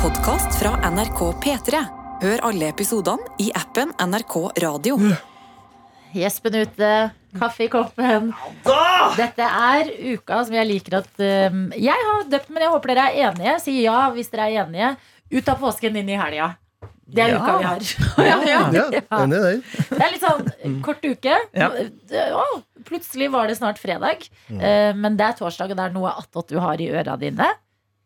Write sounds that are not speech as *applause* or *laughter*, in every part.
podkast fra NRK P3. Hør alle episodene i appen NRK Radio. Gjespen ute, kaffe i koppen. Dette er uka som jeg liker at um, Jeg har døpt, men jeg håper dere er enige. Si ja hvis dere er enige. Ut av påsken, inn i helga. Det er Ja. uka vi har. Ja, enig i det. Det er litt sånn kort uke. Ja. Å, plutselig var det snart fredag. Eh, men det er torsdag, og det er noe attåt du har i øra dine.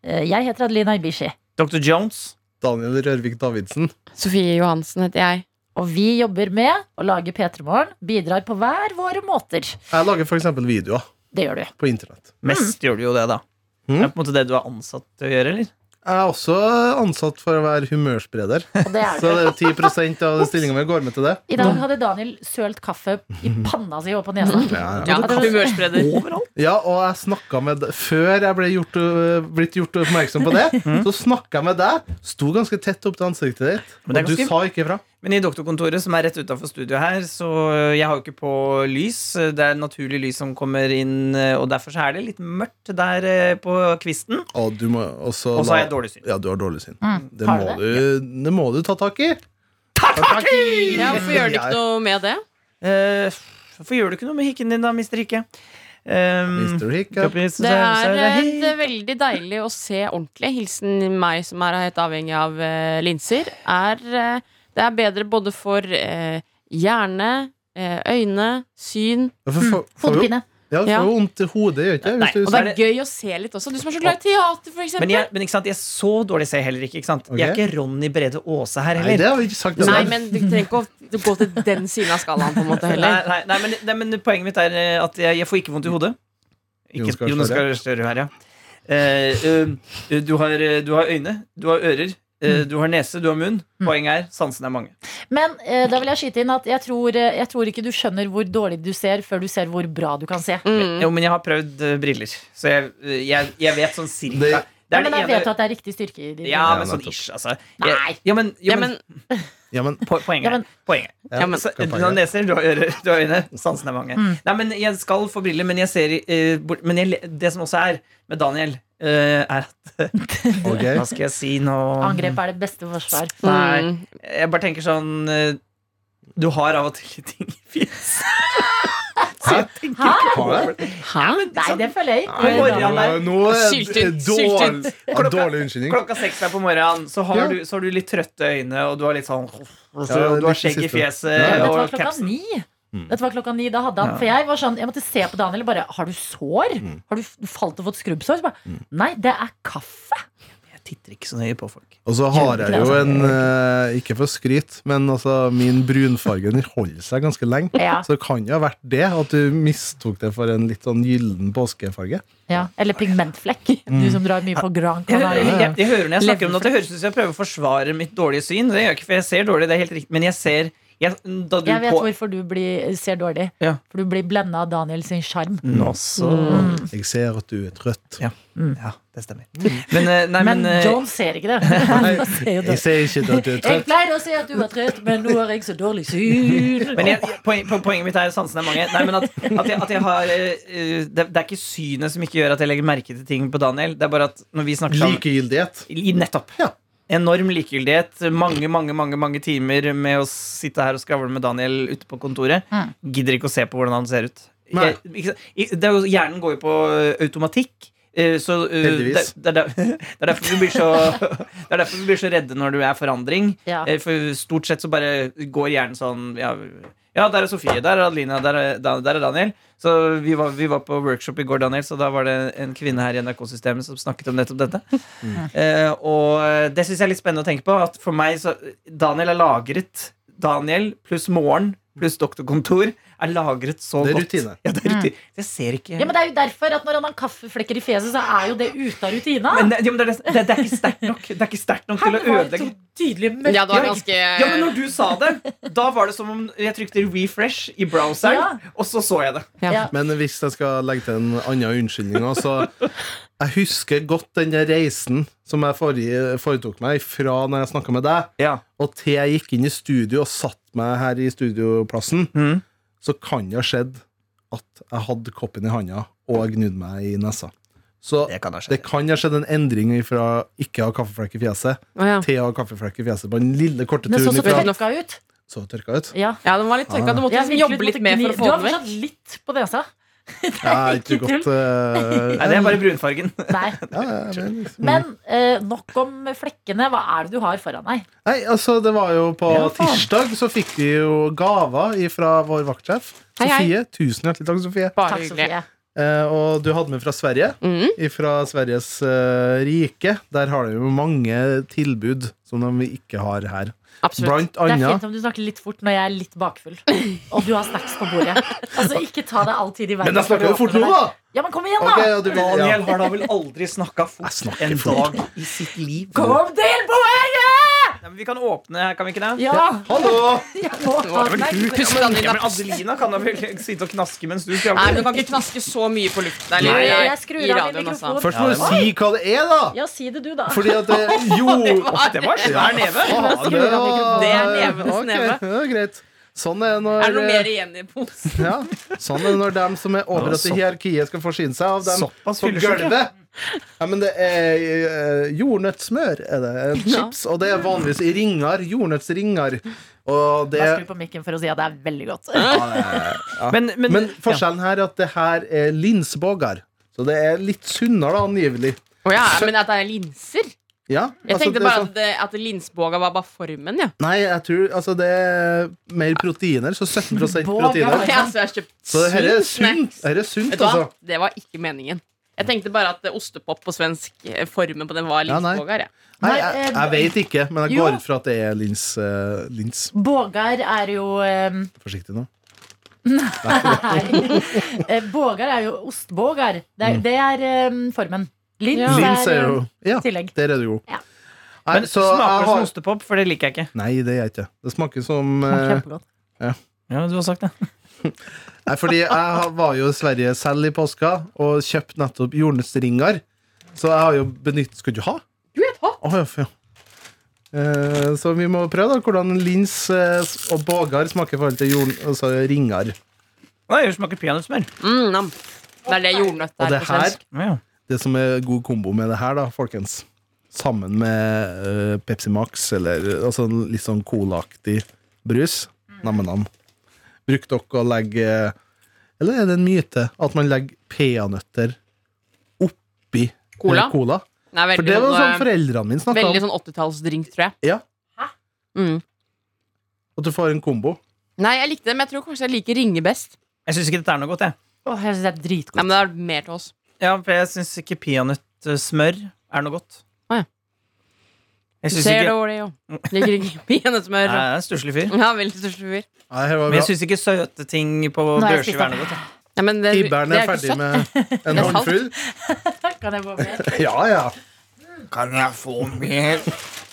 Eh, jeg heter Adelina Ibishi. Dr. Jones. Daniel Rørvik Davidsen. Sofie Johansen heter jeg. Og vi jobber med å lage P3 Morgen. Bidrar på hver våre måter. Jeg lager f.eks. videoer Det gjør du. på internett. Mest gjør du jo det, da. Mm. Det er på en måte det du er ansatt til å gjøre, eller? Jeg er også ansatt for å være humørspreder, Og det er så du. det er 10 av stillinga mi går med til det. I dag hadde Daniel sølt kaffe i panna si og på *laughs* nesa. Ja, ja. Ja, det var- sånn. Humørspreder. Overalt. Ja, og jeg snakka med deg Før jeg ble gjort, øh, blitt gjort oppmerksom på det, så snakka jeg med deg. Sto ganske tett opp til ansiktet ditt, Men det er og du ganske- sa ikke fra. Men i doktorkontoret, som er rett utafor studioet her, så eh, jeg har jo ikke på lys. Det er naturlig lys som kommer inn, eh, og derfor så er det litt mørkt der eh, på kvisten. Og du må også Og så la- har jeg dårlig syn. Ja, du har dårlig syn. Mm, Det har du må det? du, det må du ta tak i. Ta tak i! Ja, Hvorfor gjør du ikke noe med det? Eh, Hvorfor gjør du ikke noe med hikken din, da, mister Hikke? Um, Mr. Hiccup. Det er eh, det er veldig deilig å se ordentlig. Hilsen meg som er helt avhengig av eh, linser. Er, eh, det er bedre både for eh, hjerne, eh, øyne, syn Ja, for- for- får jo- Hodepine. Ja, du Ja. får jo vondt i hodet, gjør ikke Nei, og det? Hvis Og det du, er er gøy å se litt også. Du som er så glad i teater, for eksempel. Men, jeg, men ikke sant, jeg så dårlig ser jeg heller ikke. ikke sant? Jeg er Ok. ikke Ronny Brede Aase her nei, det heller. har vi ikke sagt. Nei, det. men du trenger ikke å gå til den siden av skalaen, på en måte, Nei, heller. nei, nei, men, nei, men poenget mitt er eh, at jeg, jeg får ikke vondt i hodet. Jon Ikke Gahr Jonas Støre. Gahr Støre her, ja. Eh, eh, du, har, eh, du har øyne, du har ører, eh, Mm. du har nese, du har munn. Poenget er sansene er mange. Men eh, da vil jeg skyte inn at jeg tror, eh, jeg tror ikke du skjønner hvor dårlig du ser, før du ser hvor bra du kan se. Mm. Jo, men jeg har prøvd eh, briller, så jeg, eh, jeg, jeg vet sånn cirka. Det, Det- Ja, men jeg ene- vet at det er riktig styrke i ditt. Ja, Ja, men sånn nettopp. ish, altså. Nei. Jeg, ja, men, ja, Ja, men, men Ja, men, po- poenget Ja, er men- poenget. er- ja, Ja, men- Så, skal du har poenget. neser, du har ører, du har øyne. Sansene er mange. Mm. Nei, men Jeg skal få briller, men jeg ser eh, bort, Men jeg, le- det som også er med Daniel, eh, er at Ok. *laughs* Hva skal jeg si nå? Angrep er det beste forsvar. Nei. Mm. Jeg bare tenker sånn eh, Du har av og til litt ting i fjeset. Så jeg tenker ikke sånn. over det. Hæ? Nei, det føler jeg Nei, ikke. morgenen der. Nå er det Syltet, dårlig, syltet. ja, dårlig unnskyldning. Klokka seks der på morgenen, så har, Ja. du, så har du litt trøtte øyne, og du har litt sånn Ja, Du har litt skjegg i siste. fjeset Ja, Dette var og klokka capsen. Mm. ni. Dette var klokka ni, da hadde han For jeg var sånn, jeg måtte se på Daniel og bare Har du sår? Mm. Har du f- falt og fått skrubbsår? Så bare, Nei, det er kaffe. Jeg titter ikke så nøye på folk. Og så har jeg jo en eh, Ikke for skryt, men altså min brunfarge den holder seg ganske lenge. Ja. Så det kan jo ha vært det, at du mistok det for en litt sånn gyllen påskefarge. Ja, eller pigmentflekk. Mm. Du som drar mye på Gran Jeg, hører- Canaria. jeg, jeg hører når jeg snakker om det, at det høres ut som jeg prøver å forsvare mitt dårlige syn. Det gjør jeg ikke, for jeg ser dårlig, det er helt riktig. Men jeg ser jeg, da du Jeg vet på, hvorfor du blir, ser dårlig. Ja. For du blir blenda av Daniel sin sjarm. Nå så Mm. Jeg ser at du er trøtt. Ja. Ja, det stemmer. Men, eh, nei, men, Mm. Men eh, John ser *laughs* ikke det. Han ser jo Jeg det. ser ikke at du er Jeg trøtt. pleier å si at du var trøtt, men nå har jeg så dårlig *laughs* syn. men jeg, poen, po- poenget mitt er sansene er mange. Nei, men at, at, jeg, at jeg har eh, eh, det, det er ikke synet som ikke gjør at jeg legger merke til ting på Daniel. Det er bare at når vi snakker sammen Likegyldighet. I- Nettopp. Ja. Enorm likegyldighet. Mange mange, mange, mange timer med å sitte her og skravle med Daniel ute på kontoret. Mm. Gidder ikke å se på hvordan han ser ut. Nei. Jeg, ikke, sant? I- det er jo, hjernen går jo på ø, automatikk. eh, Så ø, Heldigvis. Det, det, er der- *laughs* det er derfor vi blir så *laughs* Det er derfor vi blir så redde når du er forandring. Ja. Eh, For stort sett så bare går hjernen sånn Ja, ja der er Sofie, der er Adelina, der er, da- der er Daniel. Så vi var, vi var på workshop i går, Daniel, så da var det en kvinne her i NRK-systemet som snakket om nettopp dette. Mm. Eh, og det syns jeg er litt spennende å tenke på. At for meg så Daniel er lagret. Daniel pluss morgen pluss doktorkontor er lagret så Det er godt. rutine. Ja, det er rutine. Jeg ser ikke Mm. Ja, men det er jo derfor at når han har kaffeflekker i fjeset, så er jo det ute av rutina. Men det, ja, men det, er, det, det er ikke sterkt nok Det er ikke sterkt nok til Her å var det ødelegge. to tydelige mørke Ja, det var Ja, ganske Ja, men når du sa det, da var det som om jeg trykte refresh i browseren, Ja. og så så jeg det. Ja. Men hvis jeg skal legge til en annen unnskyldning også, så Jeg husker godt den der reisen som jeg forrige- foretok meg fra når jeg snakka med deg, Ja. og til jeg gikk inn i studio og satt meg her i studioplassen. Mm. så kan det ha skjedd at jeg hadde koppen i handa og gnudd meg i nesa. Så Det kan ha skjedd. det kan ha skjedd en endring fra ikke å ha kaffeflekk i fjeset Å ja. til å ha kaffeflekk i fjeset på den lille, korte Den så så turen ifra- tørka ut. Så tørka ut. Ja. ja, den var litt tørka. Du måtte Jeg liksom virkelig jobbe litt måtte mer gni- for å få Du den har vekk. fortsatt litt på nesa. Ja, *laughs* ikke ikke godt eh, Nei, det er bare brunfargen. Nei. *laughs* ja, ja, men liksom. Men eh, nok om flekkene. Hva er det du har foran deg? Nei, altså, det var jo på Ja, faen. tirsdag så fikk vi jo gaver fra vår vaktsjef. Hei, hei. Sofie. Tusen hjertelig takk, Sofie. Bare Takk, hyggelig. Sofie. Eh, og du hadde med fra Sverige. Mm. Fra Sveriges eh, rike. Der har de jo mange tilbud som de ikke har her. Absolutt. Blant Det er annet fint om du snakker litt fort når jeg er litt bakfull. Og du har snacks på bordet. Altså, ikke ta det all tid i verden. Men jeg snakker jo for å fort nå, åpne da! det. Ja, men kom igjen, Ok, da! og du vil, ja. Daniel har da vel aldri snakka Jeg fort snakker en fort. dag i sitt liv. Kom til poenget! Nei, men vi kan åpne her, kan vi ikke det? Ja! Hallo! Jeg må Det ta var vel snacks. du, Pust, Danny, Ja, men da. Adelina kan da vel *laughs* sitte og knaske mens du Nei, men skravler? du kan ikke knaske så mye på luften. Nei, Eller, jeg skrur i av min radioen, altså. mikrofon. Først må du si hva det er, da! Ja, si det du, da. Fordi at det Jo! Det var svær neve. Faen, det var- Det er nevenes Ok, neve. det er greit. Sånn er det når Er det noe mer igjen i posen? Ja, sånn er det når dem som er overrasket i hierarkiet skal forsyne seg av dem Såpass på fyllesyke. gulvet. Ja, men det er eh, jordnøttsmør, er det. eh, Chips. Og det er vanligvis i ringer. Jordnøttsringer. Og det Da skrur på mikken for å si at det er veldig godt. Men, men, Men forskjellen her er at det her er linsbogar. Så det er litt sunnere, da, angivelig. Å ja, men at det er linser? Ja, Jeg altså, tenkte det er bare sånn- at, det, at linsboga var bare formen, ja. Nei, jeg tror altså, det er mer proteiner. Så 17 Bogar. proteiner. Ok, altså, jeg har kjøpt Så det her er sunn sunt. snacks. Dette er sunt, Vet du hva? altså. Det var ikke meningen. Jeg tenkte bare at eh, ostepop på svensk, eh, formen på den var Ja, nei. linsbogar. Ja, Nei, Nei, jeg, eh, jeg vet ikke, men jeg jo. går ut fra at det er lins. eh, lins. Bågar er jo um, *laughs* Forsiktig nå. Eh, Bågar er jo ostbågar. Det Mm. er, det er em, formen. Lins, Ja. Lins er jo em, Ja, tillegg. der er du god. Ja. Nei, men så smaker jeg det som har... ostepop? For det liker jeg ikke. Nei, det gjør jeg ikke. Det smaker som eh, Kjempegodt. Ja, men du har sagt det. Nei, fordi jeg har- var jo i Sverige selv i påska og kjøpte nettopp jordnøttsringer. Så jeg har jo benyttet Skal du ha? Du er tatt! Å, ja, for ja. Eh, så vi må prøve da hvordan lins eh, og bågar smaker i forhold til jord, altså ringer. Nei, det smaker peanøttsmøl. Mm, nam. det er det jordnøtt Og er det på her, svensk. Ja. det som er god kombo med det her, da, folkens Sammen med eh, Pepsi Max eller eh, altså, en litt sånn colaaktig brus. Nam-nam. Brukte dere å legge Eller er det en myte at man legger peanøtter oppi eh, Cola? cola? Nei, For veldig, det var sånn sånn, foreldrene mine eh, snakka veldig om. sånn 80-tallsdrink, tror jeg. Ja, Mm. At du får en kombo. Nei, jeg likte det, men jeg tror kanskje jeg liker ringe best. Jeg syns ikke dette er noe godt, jeg. Åh, jeg syns det er dritgodt. Nei, men det er mer til oss. Ja, for jeg syns ikke peanøttsmør er noe godt. Å, ja. Jeg Du syns ser ikke dårlig, jo. Liker ikke Nei, peanøttsmør. jeg er en stusslig fyr. Ja, veldig største fyr. Nei, Men det var bra. jeg syns ikke søte ting på Nå har jeg brødskive spist er noe godt. jeg. Nei, men det, det Tibberen er er ikke ferdig sant. *laughs* med en Det er sant. håndfull. Kan jeg få mer? *laughs* Ja, ja. Kan jeg få mer?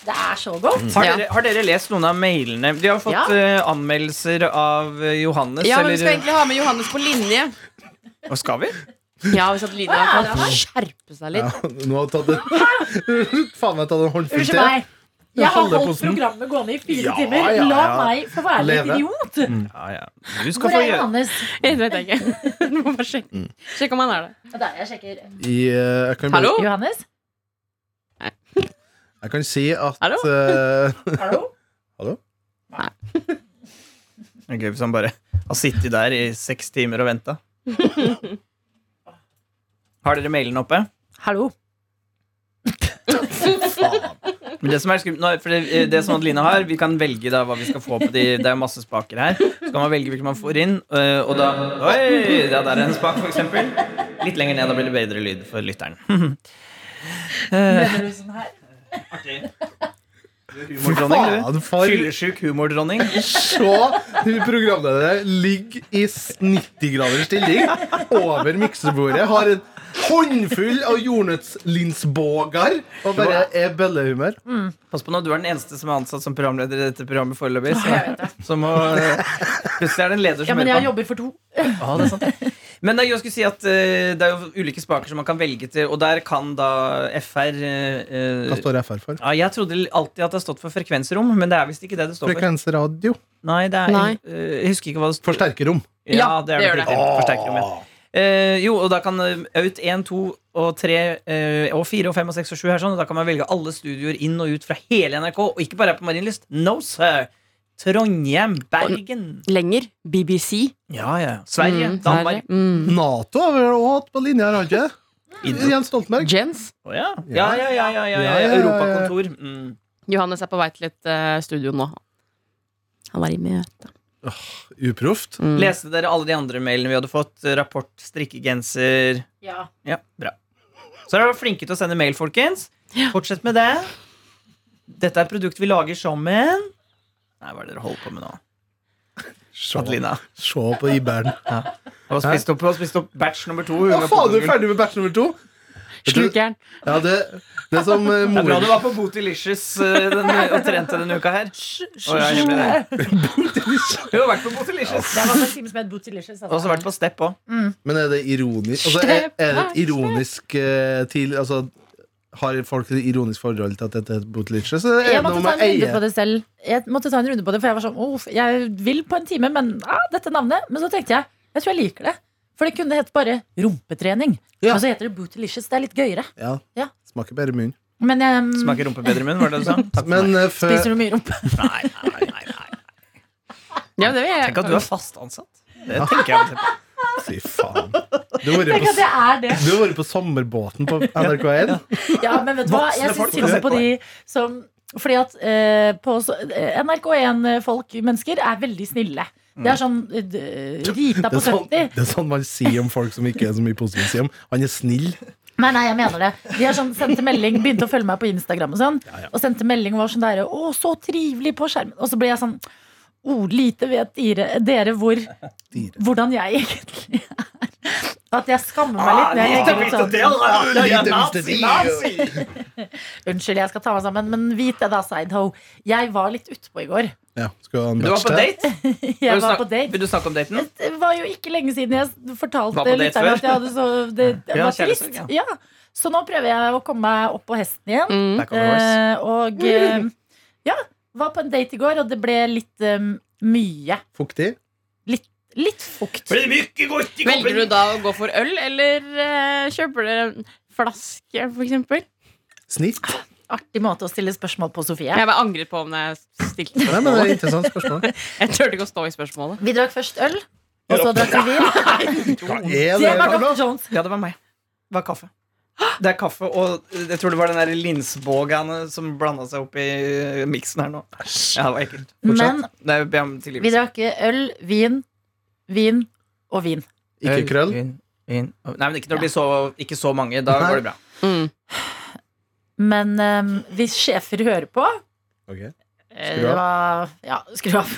Det er så godt. Har, Ja. dere, har dere lest noen av mailene? De har fått Ja. eh, anmeldelser av eh, Johannes. Ja, men vi eller, skal eh, egentlig ha med Johannes på linje. Å, skal vi? Ja, hvis at Lina kan skjerpe seg ja. litt. Nå har jeg tatt en *laughs* Faen meg tatt en håndfull Unnskyld til. meg. Jeg har Holde holdt posen. programmet gående i fire Ja, timer. ja, La ja. meg få være en Leve. idiot. Ja, ja. Du skal Hvor få er gjøre Johannes? *laughs* Det vet jeg ikke. *laughs* Du må bare sjekke. Mm. Sjekk om han er det. Ja, Der, jeg sjekker. I, eh, jeg kan bare- Hallo? Johannes? Jeg kan si at Hallo? eh, *laughs* Hallo? Det er Gøy hvis han bare har sittet der i seks timer og venta. *laughs* Har dere mailen oppe? Hallo. Men det som er skummelt, nå, for det, det som Adelina har, vi kan velge da hva vi skal få på de Det er masse spaker her. Så kan man velge hvilken man får inn, øh, og da Oi! Ja, der er en spak, for eksempel. Litt lenger ned, da blir det bedre lyd for *laughs* lytteren. Eh. Mener du sånn her? Humordronning, du. faen, for Fyllesjuk humordronning. se hun programlederen ligger i s- 90 graders stilling over miksebordet, har en håndfull av jordnøttslinsbågar og bare er bøllehumør. Pass på nå, du er den eneste som er ansatt som programleder i dette programmet foreløpig. Åh, jeg vet Så, så må eh, Plutselig er det en leder Ja, som men jeg hører på. jobber for to. Ja, det er sant. Men da, jeg skulle si at eh, det er jo ulike spaker som man kan velge til, og der kan da FR eh, eh, Hva står FR for? Ja, jeg trodde alltid at det har stått for frekvensrom, men det er visst ikke det det står for. Frekvensradio. Nei, det er, Nei. Eh, jeg husker ikke hva det står Forsterkerom. Ja, det er det. det gjør det. riktig. Forsterkerom, ja. Eh, jo, og da kan eh, ut 1, 2 og 3 eh, og 4 og 5 og 6 og 7 her sånn. Og da kan man velge alle studioer inn og ut fra hele NRK. Og ikke bare her på Marienlyst. No, sir! Trondheim, Bergen Lenger. BBC. Ja, ja. Sverige, Mm, Danmark. Sverige. Mm. Nato har vi jo hatt på linja her, har vi ikke? det? Idol. Jens Stoltenberg. Jens. Å, ja. Ja, ja, ja, ja, ja, Ja, ja, ja, ja, ja. Europakontor. Mm. Johannes er på vei til et eh, studio nå. Han var i møte. Uproft. Mm. Leste dere alle de andre mailene vi hadde fått? Rapport, strikkegenser Ja. Ja, bra. Så dere var flinke til å sende mail, folkens. Fortsett med det. Dette er et produkt vi lager sammen. Nei, hva er det dere holder på med nå? Se Adelina. se på Ibern. Hun har spist opp, hun har spist opp batch nummer to. Hun Å, var på faen, du er Google. ferdig med batch nummer to? Slukeren. Ja, det, det som eh, det er bra du mor var på Bootylicious eh, den- og trente denne uka her. Å, ja, jeg ble det. Du har vært på Bootylicious. Det var en time som het Bootilicious. Og så vært på Step òg. Men er det ironisk altså, er, er det et ironisk eh, til Altså, har folk et ironisk forhold til at dette er bootleacher? Så er Jeg det noe måtte ta en med runde på eie det selv. Jeg måtte ta en runde på det, For jeg var sånn Uff, jeg vil på en time, men ah, dette navnet. Men så tenkte jeg jeg tror jeg liker det. For det kunne hett bare rumpetrening. Ja. Men så heter det Bootilicious. Det er litt gøyere. Ja. Ja. Smaker bare munn. Men jeg mm, Smaker rumpe bedre i munnen, var det det du sa? Takk for Men meg. eh, før spiser du mye rumpe? Nei, nei, nei, nei. Ja, det vil jeg. Tenk at du er fast ansatt. Det tenker jeg. Fy faen. *laughs* Du har vært Tenk på, at det er det. du har vært på sommerbåten på NRK1. Ja, men vet du hva? Jeg Voksne folk syns synd ser på på. de som Fordi at eh, på så- eh, NRK1-folk, mennesker, er veldig snille. Det er sånn eh, d- Rita Det på er, sånn, 70 det er sånn man sier om folk som ikke er så mye positivt å si om. Han er *laughs* snill. Nei, nei, jeg mener det. De har sånn, sendte melding, begynte å følge meg på Instagram og sånn. Og sendte melding og var sånn der Å, så trivelig på skjermen. Og så ble jeg sånn Å, lite vet dere, dere hvor Hvordan jeg egentlig er. At jeg skammer meg Ah, litt når jeg legger ut sånn. Unnskyld, jeg skal ta meg sammen, men vit det da, Sideho. Jeg var litt utpå i går. Ja, skal han Du var på matche det? date? Vil Jeg du var snakke- på date. Vil du snakke om daten? Det var jo ikke lenge siden jeg Var fortalte på date lytterne før? at jeg hadde så Det, det Ja, var kjæreste, trist. Ja. Så nå prøver jeg å komme meg opp på hesten igjen. Mm. Back on the horse. Eh, og eh, ja, var på en date i går, og det ble litt eh, mye. Fuktig? Litt fukt. Blir det mye godt i Velger du koppen? da å gå for øl, eller eh, kjøper dere en flaske, for eksempel? Snilt? Artig måte å stille spørsmål på, Sofie. Jeg bare angret på om jeg stilte Nei, men det er et spørsmålet. interessant *laughs* spørsmål. Jeg turte ikke å stå i spørsmålet. Vi drakk først øl, og så drakk vi *laughs* vin. Hva er Det det? var Karla? Dr. Jones. Ja, det var meg. Det var kaffe. Det er kaffe, og jeg tror det var den der linsbågane som blanda seg opp i eh, miksen her nå. Ja, det var ekkelt. Men Nei, jeg ber om tilgivelse. vi drakk øl, vin, vin og vin. Ikke krøll? Vin, vin. Nei, men ikke når det blir så, ikke så mange. Da Nei. går det bra. Mm. Men eh, hvis sjefer hører på Ok. eh, Skru det av. var, Ja, skru av.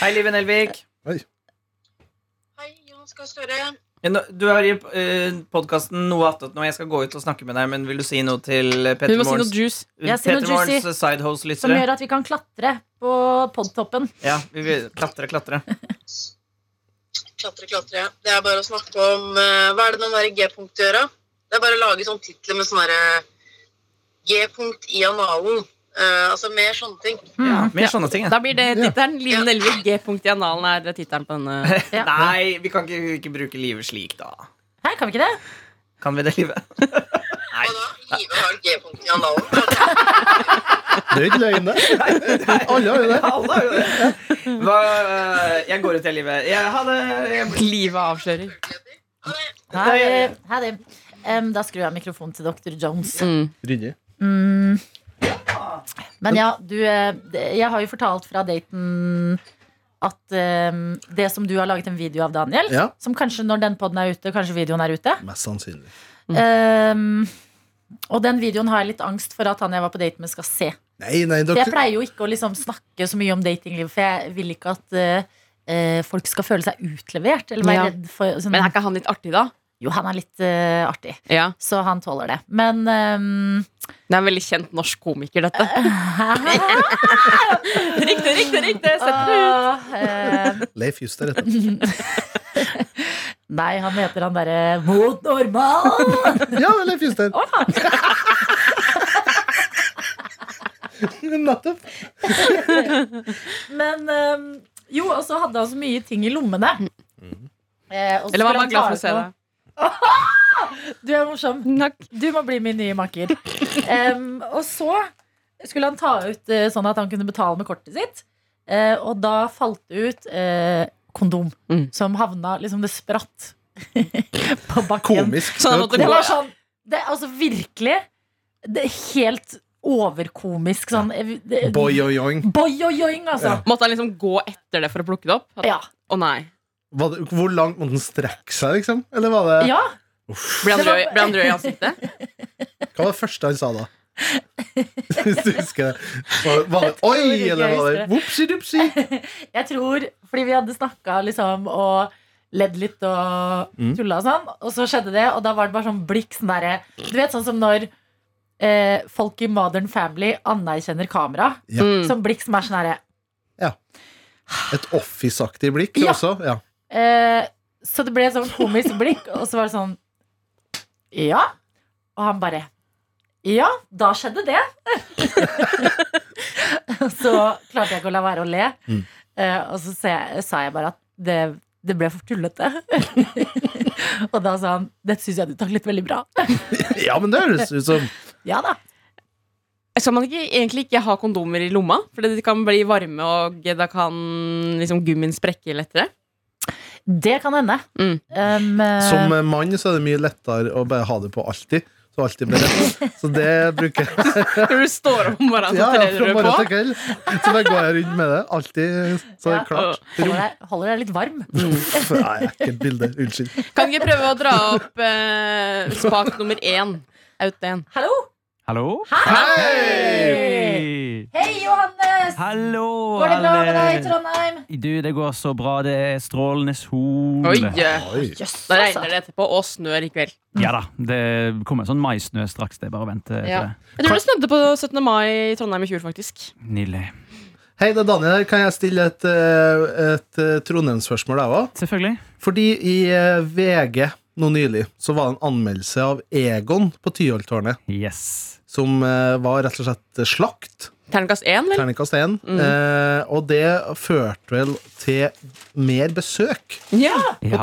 Hei, Liven Elvik. Hei, Jonas Gahr Støre. Eh, Du har i podkasten noe attåt nå. Jeg skal gå ut og snakke med deg, men vil du si noe til eh, Hun Petter må si noe Morgens, juice. Jeg sier noe Petter juicy. Morgens eh, Som sidehose-lyttere? gjør at vi kan klatre på podtoppen. Ja, vi vil klatre, klatre. Klatre, klatre. Det er bare å snakke om eh, Hva er det den der G-punktet gjør, da? Det er bare å lage sånn titler med sånn derre G-punkt i analen. Eh, altså mer sånne ting. Ja, mer sånne ting. Ja. Da blir det tittelen. Liv Nelvik, G-punkt i analen er tittelen på denne. Ja. Nei, vi kan ikke, ikke bruke livet slik, da. Her, kan vi ikke det? Kan vi det, livet? *laughs* Nei. Og da Live har et G-punkt i analen. Ja, det Det er jo ikke *laughs* løgn, det. Alle har jo det. Alle har jo det. Hva, eh, jeg går ut, jeg, livet. Jeg, ha det. Jeg, Livet avslører. er muligheter. Ja, det- Ha Nei, det. jeg- Ha det. Em, da skrur jeg mikrofonen til Dr. Jones. Mm. Ryddig. Mm. Men ja, du eh, det- Jeg har jo fortalt fra daten at em, det som du har laget en video av, Daniel Ja, Som kanskje når den podden er ute, kanskje videoen er ute. mest sannsynlig. Mm. Em, og den videoen har jeg litt angst for at han jeg var på date med, skal se. Nei, nei, For jeg dere pleier jo ikke å liksom snakke så mye om datinglivet, for jeg vil ikke at eh, eh, folk skal føle seg utlevert. Eller være Ja. redd for sånn, Men er ikke han litt artig, da? Jo, han er litt eh, artig, Ja. så han tåler det. Men ehm, em, Det er en veldig kjent norsk komiker, *laughs* dette. Hæ? Riktig, riktig, riktig! Sett det ut. Åh, eh, Leif Juster heter han. Nei, han heter han derre Mot normal! Ja, det er Leif *laughs* Juster. *laughs* Nettopp. ehm, Men eh, jo, og så hadde han så mye ting i lommene. Eh, og så Eller var skulle bare han glad ta for å ut se noe. det. Du er morsom. Takk. Du må bli min nye makker. Em, og så skulle han ta ut eh, sånn at han kunne betale med kortet sitt. Eh, og da falt det ut eh, kondom, Mm. som havna Liksom, det spratt *laughs* på bakken. Komisk. Sånn Det at var Det komisk. var sånn det, er Altså virkelig det er helt overkomisk sånn eh, det- Boy og yoing. Boy og joing, altså. Måtte han liksom gå etter det for å plukke det opp? At- Å Ja. nei. Var det- Hvor langt måtte den strekke seg, liksom? Eller var det, ja. Ble han Det var- rød, ble han rød i ansiktet? Hva var det første han sa da? Hvis du husker det. Var, var det oi, ikke eller jeg var husker det vopsi dupsi? Jeg tror Fordi vi hadde snakka liksom og ledd litt og Mm. tulla og sånn, og så skjedde det, og da var det bare sånn blikk sånn derre Du vet sånn som når eh, folk i Modern Family anerkjenner kamera, Ja. Mm. som blikk som er sånn herre Et office-aktig blikk Ja. også. Ja. eh, Så det ble sånn komisk *laughs* blikk, og så var det sånn Ja. Og han bare Ja, da skjedde det. *laughs* så klarte jeg ikke å la være å le, Mm. eh, og så sa jeg, sa jeg bare at det, det ble for tullete. *laughs* og da sa han Det syns jeg du taklet veldig bra. ja, men det høres ut som ja da. Skal man ikke, egentlig ikke ha kondomer i lomma? For det kan bli varme, og da kan liksom gummien sprekke lettere. Det kan hende. Mm. Um, eh, Som mann så er det mye lettere å bare ha det på alltid. Så alltid blir rett. Så det bruker jeg. Når du står opp om morgenen, Ja, ja, så trer fra du morgen til på. kveld. Så bare går jeg rundt med det. Alltid. Så er det klart. Mm. holder, deg, holder deg litt varm. Uff, Nei, ekkelt bilde. Unnskyld. Kan ikke prøve å dra opp eh, spak nummer én. Out én. Hallo! Hallo? Hei! Hei! Hei, Johannes! Hallo, Går det bra med deg i alle. Trondheim? Du, det går så bra. Det er strålende sol. Oi! eh, Oi. Da regner altså. det etterpå, og snør i kveld. Ja da. Det kommer sånn maisnø straks. Det er bare å vente. Ja. etter det. Jeg tror det snødde på 17. mai i Trondheim i fjor, faktisk. Nydelig. Hei, det er Daniel her. Kan jeg stille et, eh, et eh, Trondheim-spørsmål, jeg òg? Selvfølgelig. Fordi i eh, VG nå nylig så var det en anmeldelse av Egon på Tyholttårnet, Yes. som eh, var rett og slett slakt. Terningkast én, vel? Terningkast 1. Mm. Eh, og det førte vel til mer besøk Ja. på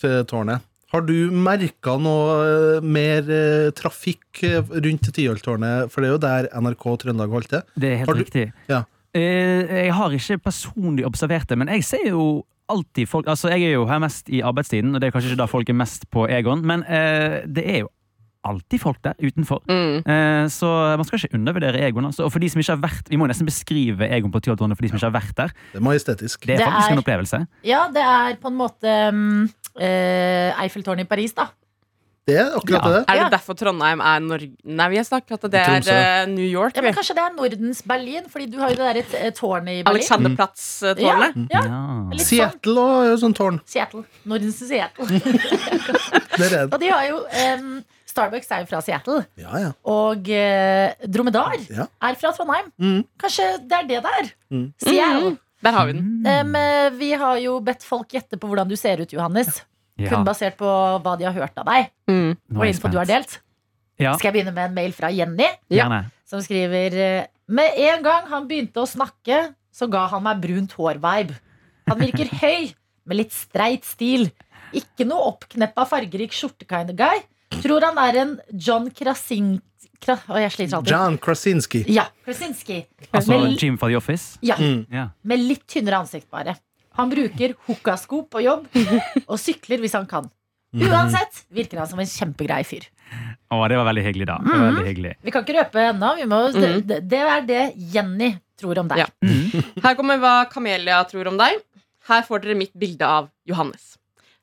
Tyholttårnet. Har du merka noe eh, mer eh, trafikk eh, rundt Tyholttårnet? For det er jo der NRK Trøndelag holdt til. Det er helt Har du- riktig. Ja. Eh, Jeg har ikke personlig observert det, men jeg ser jo alltid folk Altså, jeg er jo her mest i arbeidstiden, og det er kanskje ikke da folk er mest på Egon, men eh, det er jo alltid folk der utenfor. Mm. Eh, Så man skal ikke undervurdere Egon. Altså. Og for de som ikke har vært Vi må nesten beskrive Egon på Tyholttårnet for de som ikke har vært der. Det er majestetisk. Det er Det faktisk er- en opplevelse. Ja, det er på en måte mm, eh, Eiffeltårnet i Paris, da. Det er akkurat Ja. det. Er Ja. det derfor Trondheim er Norge Nei, vi har snakket at det er Tromsø. eh, New York. Ja, men vi. Kanskje det er Nordens Berlin, fordi du har jo det der eh, tårnet i Berlin. Alexanderplatz-tårnet. Ja, Ja. Litt sånn. Seattle også er jo sånn tårn. Seattle. Nordens Seattle. Der er Og det. de har jo em, Starbucks er jo fra Seattle. Ja, ja. Og eh, Dromedar Ja. er fra Trondheim. Mm. Kanskje det er det det er. Mm. Seattle. Der har vi den. Mm. Em, eh, vi har jo bedt folk gjette på hvordan du ser ut, Johannes. Ja, Kun basert på hva de har hørt av deg. nå Mm. Og er jeg info du har spent. delt. Ja, Skal jeg begynne med en mail fra Jenny? gjerne. som skriver eh, Med en gang han begynte å snakke, så ga han meg brunt hår-vibe. Han virker høy, med litt streit stil. Ikke noe oppkneppa, fargerik skjorte-kind of guy. Tror han er en John Krasin... Kra, å, jeg sliter alltid. John Krasinski. Ja, Krasinski. Altså Vel- Jim fra The Office. Ja, Mm. Ja. med litt tynnere ansikt, bare. Han bruker hukkasko på jobb og sykler hvis han kan. Mhm. Mm. Uansett virker han som en kjempegrei fyr. Å, det var veldig hyggelig, da. Det var Mm. veldig hyggelig. Vi kan ikke røpe ennå. Vi må, det, Mhm. det- det er det Jenny tror om deg. Ja. Her kommer hva Kamelia tror om deg. Her får dere mitt bilde av Johannes.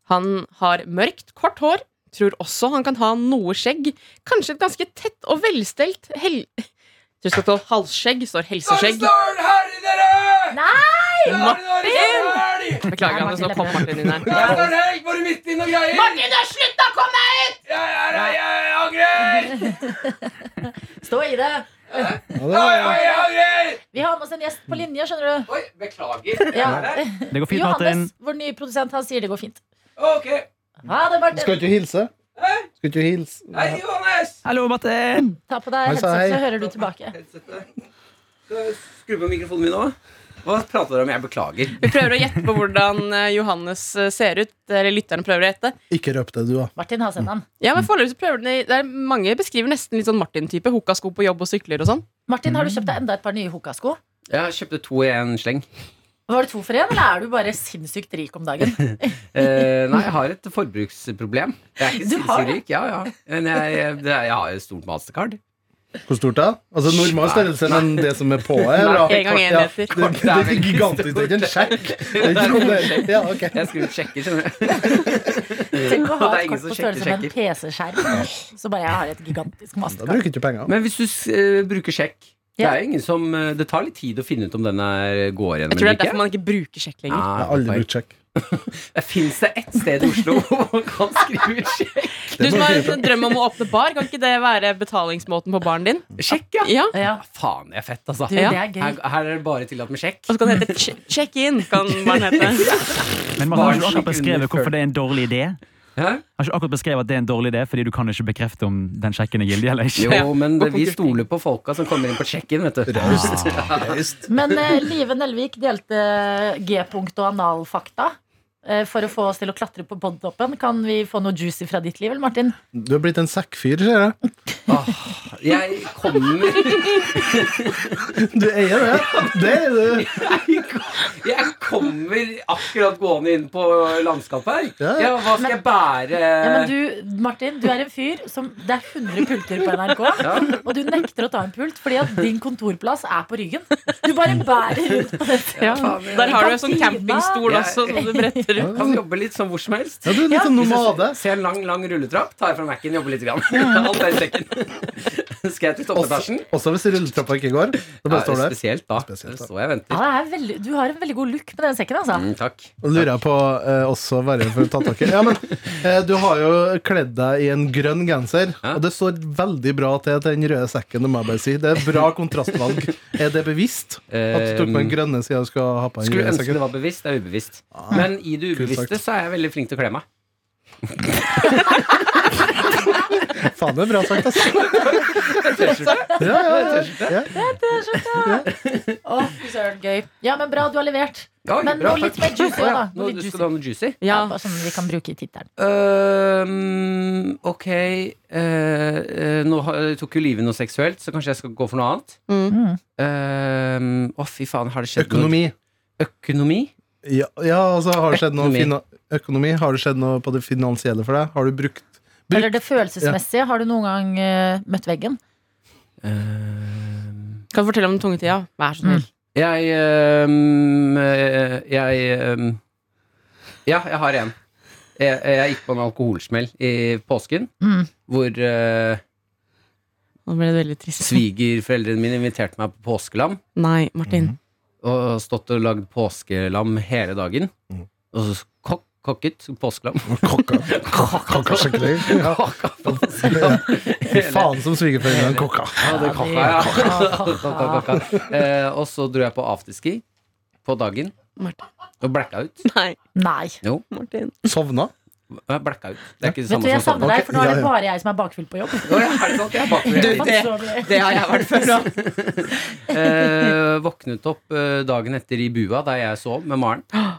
Han har mørkt, kort hår. Tror også han kan ha noe skjegg. Kanskje et ganske tett og velstelt hel... Tror det skal stå halsskjegg, står helseskjegg. Beklager, Johannes, nå kom Martin inn her. Stå i det! Ja, det er- Vi har med oss en gjest på linje, skjønner du. Beklager. Ja. Det går fint, Martin. Johannes, vår nye produsent, han sier det går fint. Ok. Ha det, Skal Martin. ikke du hilse? Skal ikke du hilse? Hei, Johannes! Hallo, Martin! Ta på deg Hei, sa headset, hei. så hører du tilbake. Headsetet. Skal jeg Skru på mikrofonen min nå. Hva prater dere om? Jeg beklager. Vi prøver å gjette på hvordan eh, Johannes eh, ser ut. Eller lytterne prøver å gjette. Ikke røp det, du, da. Martin har sett han. Ja, men foreløpig så prøver den, det er Mange beskriver nesten litt sånn Martin-type. Hokkasko på jobb og sykler og sånn. Martin, har du kjøpt deg enda et par nye hokasko? Jeg kjøpte to i en sleng. Var det to for én, eller er du bare sinnssykt rik om dagen? *laughs* Eh, nei, jeg har et forbruksproblem. Jeg er ikke Du har sinnssykt rik. Ja, ja. Men jeg, jeg, det er- jeg har et stort mastercard. Hvor stort da? Altså Normal størrelse enn det som er på her? da. En gang en Ja, meter. Det, det, det er gigantisk, det er ikke en sjekk. Det er ikke noe der. Ja, ok. Jeg skulle sjekke, skjønner du. Tenk å ha Og det er et ingen kort som på sjekker, størrelse med en sjekker. PC-skjerm. Så bare jeg har et gigantisk Da mastercard. bruker du ikke penger. Men hvis du s- eh, bruker sjekk Det Ja. er jo ingen som eh, Det tar litt tid å finne ut om den er går igjen Jeg tror det eller er derfor ikke. man ikke bruker sjekk lenger. Jeg Nei, har aldri feil. brukt sjekk. Det Fins det ett sted i Oslo hvor man kan skrive ut sjekk? Du som må har jeg finne en drøm om å åpne bar, kan ikke det være betalingsmåten på baren din? Sjekk, ja! Ja, Ja, Faen, det er fett, altså. du, det er Her, gøy. her er det bare tillatt med sjekk. Og så kan det hete che- check-in. Kan baren hete Men man har Bare ikke akkurat slik under beskrevet hvorfor det er en dårlig idé. Hæ? Har ikke akkurat beskrevet at det er en dårlig idé, fordi du kan ikke bekrefte om den sjekken er gildig eller ikke. Jo, men det, vi stoler på folka som kommer inn på check-in, vet *laughs* du. Raust. Raust. Men eh, Live Nelvik delte eh, G-punkt og analfakta. eh, For å få oss til å klatre på podtoppen. Kan vi få noe juicy fra ditt liv, eller, Martin? Du har blitt en sekkfyr, ser jeg. Jeg kommer Du eier det. Det er du. Jeg kommer akkurat gående inn på landskapet her. Ja. Ja, hva skal jeg bære? Ja, men du, Martin, du er en fyr som Det er 100 pulter på NRK, og du nekter å ta en pult fordi at din kontorplass er på ryggen. Du bare bærer rundt på det. ja. Der har du en sånn campingstol også, som du bretter Jeg kan jobbe litt som hvor som helst. Ja, du er litt sånn nomade. Se en lang lang rulletrapp, tar fram Mac-en, jobber litt. Grann. *laughs* Alt er i sekken. *laughs* Skal jeg til Også, toppetasjen? også hvis rulletrappa ikke går. Da bare står du der. spesielt da. Spesielt, da. Så jeg venter. Ja, det er veldig, du har en veldig god look med den sekken, altså. Mm, takk. Og lurer jeg på eh, også verre for å ta tak i. Ja, men eh, du har jo kledd deg i en grønn genser, Ja. og det står veldig bra til til den røde sekken. Det må jeg bare si. Det er bra kontrastvalg. Er det bevisst at du tok på den grønne sida du skal ha på den Um, Skulle røde ønske sekken? det var bevisst. Det er ubevisst. Men i det Ah, kult sagt. ubevisste så er jeg veldig flink til å kle meg. Faen, det er bra sagt, *laughs* ass. Ja, ja, ja. ja. Å, fy søren, gøy. Ja, men bra, du har levert. Oi, Men nå litt mer juicy, Å ja, da. Nå Nå litt skal du ha noe juicy? Ja, Ja, bare sånn vi kan bruke i tittelen. Øhm, ok eh, eh, Nå har- tok jo livet noe seksuelt, så kanskje jeg skal gå for noe annet. Å, fy faen, har det skjedd Økonomi. noe Økonomi? Ja, ja altså, har det skjedd noe Økonomi. fina økonomi? Har det skjedd noe på det finansielle for deg? Har du brukt Bruk- Eller det følelsesmessige. Har du noen gang eh, møtt veggen? Øhm, Kan du fortelle om den tunge tida? Vær så snill. jeg øhm, eh, Jeg øhm, Ja, jeg har en. Jeg, jeg gikk på en alkoholsmell i påsken, Mm. hvor eh, Nå ble det veldig trist. svigerforeldrene mine inviterte meg på påskelam. Nei, Martin. og stått og lagd påskelam hele dagen. Mhm. Og så kok kokket påskelam. kokka? Kokka skikkelig? Ja. Kaka Ja. påskelam. *laughs* Fy *laughs* faen som svigerforeldrene kokka. Ja, det kaka, ja. *laughs* Kaka, kaka. Eh, og så dro jeg på afterski på dagen Martin. og blacka ut. Nei, Nei. Martin. Sovna? Jeg blacka ut. Det er ikke Vet det du, samme jeg savner som sånn. sovna. deg, for nå er Ja, det ja. bare jeg som er bakfylt på jobb. Å, ja, er det sant? Jeg er bakfull hele tiden. Det har jeg vært før. Eh, våknet opp eh, dagen etter i bua der jeg sov med Maren, eh,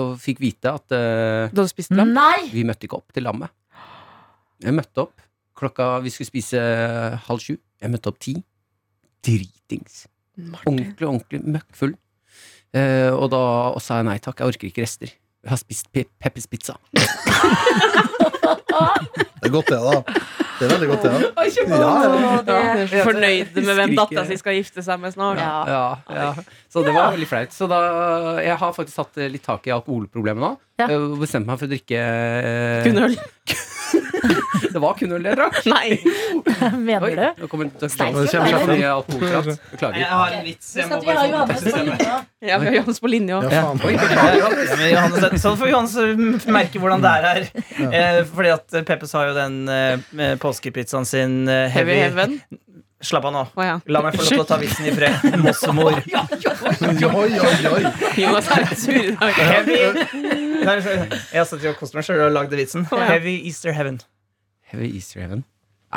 og fikk vite at eh, Du hadde spist lam? Nei! Vi møtte ikke opp til lammet. Jeg møtte opp klokka Vi skulle spise halv sju. Jeg møtte opp ti. Dritings. Martin. Ordentlig, ordentlig møkkfull. Eh, og da og sa jeg nei takk, jeg orker ikke rester. Jeg har spist pe Peppers pizza. Det er godt, det, da. Det er veldig godt, det. da. Å, det, Fornøyd med hvem Skriker. dattera si skal gifte seg med snart. ja. Ja, ja. Så det var veldig flaut. Så da Jeg har faktisk hatt eh, litt tak i alkoholproblemet nå. Ja. Eh, Og bestemte meg for å drikke eh, Kun øl. Det var kun øl jeg drakk. Nei. Oi, Mener du? nå kommer det Steik, det kommer så eller? mye alkoholprat. Beklager. Jeg har en vits. Husk Jeg må at vi bare har få den Johannes til å på stemme. linja. Ja, vi har Johannes på linje òg. Ja, faen. Ja, men Johannes, sånn får Johannes eh, merke hvordan det er her. Eh, fordi at eh, Peppes har jo den eh, påskepizzaen sin eh, Heavy heavy. Heaven. Slapp av nå. Å ja. La meg få lov til å ta vitsen i *laughs* fred. Mossemor. Oi, oi, oi. Jonas er litt sur i dag. Heavy Nei, Jeg satt jo og koste meg sjøl og lagde vitsen. ja. Heavy Easter Heaven. Heavy Easter Heaven.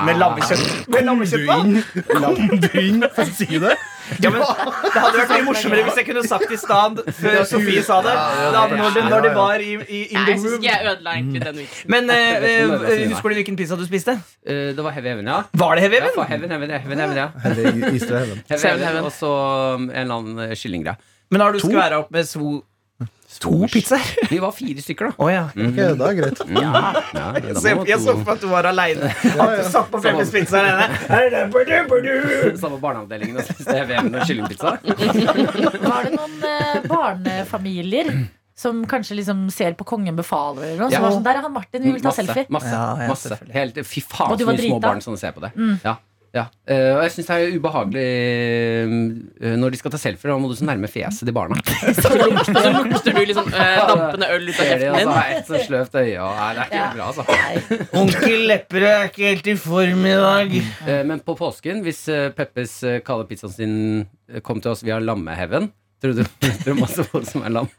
Med lammekjøtt. Med lammekjøtt da. Kom du inn, for å si det? Ja, *laughs* men Det hadde vært mye morsommere hvis jeg kunne sagt i stand før Sofie sa det. Da, når, det når det var i, i in Nei, the jeg syns room. ikke jeg ødela egentlig den vitsen. Men eh, Jeg vet ikke om det er eh, det husker du hvilken pizza du spiste? Eh, det var Heavy Heaven, ja. Var det Ja, Heaven? for heaven, heaven, heaven, heaven, ja. Eller is fra heaven. Heaven, Seven heaven, Heaven. Og så um, en eller annen eh, kyllinggreie. Men har du skværa opp med so to pizzaer? Vi var fire stykker, da. Å ja. Ok, da er greit. Mm. Ja, da Jeg må så jeg så to- for meg at du var aleine. At du satt på Peppers Pizza alene. Samme barneavdelingen og spiste Heavy Heaven og kyllingpizza. Var det noen eh, barnefamilier som kanskje liksom ser på Kongen befaler eller noe? Ja. Som var sånn, der er han Martin, vi vil ta selfie. Masse, Ja, ja, masse. selvfølgelig. Helt, fy faen, Og du så var mye små drita. Mm. barn som ser på det. Ja, ja. Eh, og jeg syns det er ubehagelig eh, når de skal ta selfier. Da må du så nærme fjeset til *laughs* barna. Og så lukter du liksom eh, dampende øl ut av Ser kjeften de, altså, din. har et så sløvt øye og Nei, det er ikke Ja. bra, altså. Nei. Onkel Lepperød er ikke helt i form i dag. Eh, men på påsken, hvis eh, Peppes eh, kalde pizzaen sin eh, kom til oss via lammeheven Tror du *laughs* det er masse folk som er lam?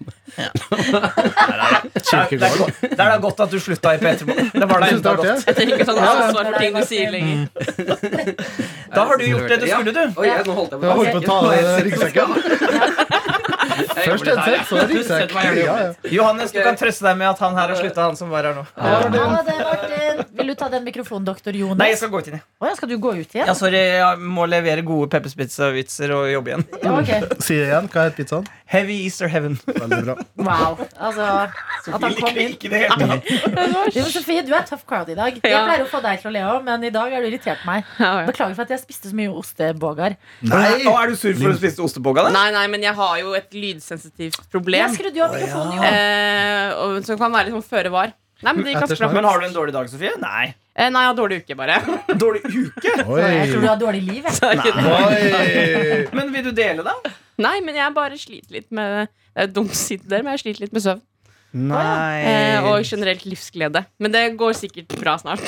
Det er godt- det er da godt at du slutta i P3 Morgen. Det *laughs* var da Jeg synes enda det er godt. artig. Jeg trenger ikke sånn ansvar for ting du sier lenger. Da har du gjort det du skulle, du. Oi, jeg, nå holdt jeg på Jeg holdt på å ta av deg ryggsekken. Jeg Først en gjorde det der, sekk, så en Sett ryggsekk. meg gjerne Ja, opp. ja. Johannes, du kan trøste deg med at han her har slutta, han som var her nå. Ha det, Martin. Vil du ta den mikrofonen, doktor Jonas? Nei, jeg skal gå ut inn, jeg. Å ja, skal du gå ut igjen? Ja, sorry, jeg må levere gode Peppers Pizza-vitser og jobbe igjen. Ja, ok. Si det igjen. Hva het pizzaen? *laughs* Heavy Easter Heaven. Veldig bra. Wow. Altså, at han kom inn. det hele tatt. Jo, men Sofie, du er tough crowd i dag. Jeg Ja. pleier å få deg til å le òg, men i dag har du irritert meg. Ja, ja. Beklager for at jeg spiste så mye ostebogar. Nå er du sur for å spise ostebogga, da? Nei, nei, men jeg har jo et lydsensitivt problem. Jeg skrudde jo av mikrofonen, jo. Eh, og, som kan være litt sånn føre var. Nei, men det gikk ganske bra. Men har du en dårlig dag, Sofie? Nei. Eh, nei, jeg har dårlig uke, bare. *laughs* Dårlig *laughs* uke? Jeg tror du Oi. har dårlig liv. Jeg. Så jeg kunne- Oi. Men vil du dele, da? Nei, men jeg bare sliter litt med Det er jo dumt å si det der, men jeg sliter litt med søvn. Eh, og Nei. generelt livsglede. Men det går sikkert bra snart.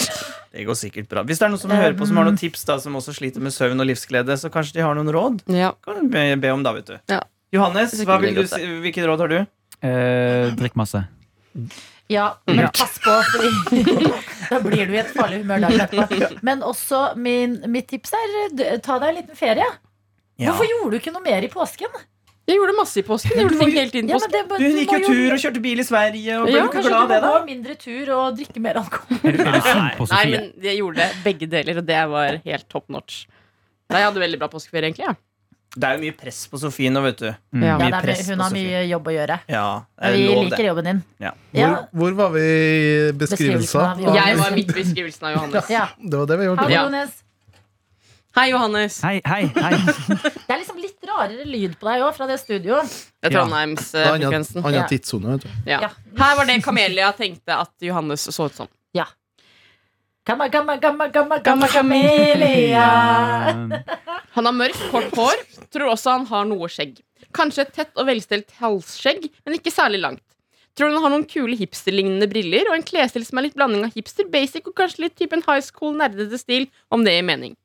Det går sikkert bra. Hvis det er noen som hører på som har noen tips, da som også sliter med søvn og livsglede, så kanskje de har noen råd? Ja. Kan du be be om da, vet du. Ja. Johannes, Det er sikkert hva vil du godt, si, hvilket råd har du? *laughs* Eh, drikk masse. Ja, men pass på, fordi *laughs* da blir du i et farlig humør dagen etterpå. Men også min, mitt tips er d- ta deg en liten ferie. Hvorfor gjorde du ikke noe mer i påsken? Jeg gjorde masse i påsken. Jeg gjorde ting hele tiden i Ja, men påsken. det, Du gikk jo tur og kjørte bil i Sverige og ble Ja, ikke Kanskje du glad av må det, da? gå mindre tur og drikke mer alkohol. Er du, er du sånn sint Nei, på Sofie? men jeg gjorde begge deler, og det var helt top notch. Nei, jeg hadde veldig bra påskeferie, egentlig. Ja. Det er jo mye press på Sofie nå, vet du. Mm. Ja. Ja, Mye det er, press på hun har Sofie. mye jobb å gjøre. Ja, det Men er vi lov, det. liker jobben din. Ja. Ja, Hvor, hvor var vi i beskrivelsen? Beskrivelsen av- Jeg var midt i beskrivelsen av Johannes. ja. Det var det vi gjorde. Hallo, Ja. Jonas. Hei, Johannes. Hei, hei, hei. Det er liksom litt rarere lyd på deg òg, fra det studioet. Det er Det er Ja. annen- Trondheims-frekvensen. annen Ja. tidssone, vet du. Ja. Ja. Her var det Kamelia tenkte at Johannes så ut som. Gamma, gamma, gamma, gamma, gamma kamelia. Han har mørkt, kort hår. Tror også han har noe skjegg. Kanskje et tett og velstelt halsskjegg, men ikke særlig langt. Tror han har noen kule hipsterlignende briller og en klesstil som er litt blanding av hipster, basic og kanskje litt typen high school, nerdete stil, om det gir mening.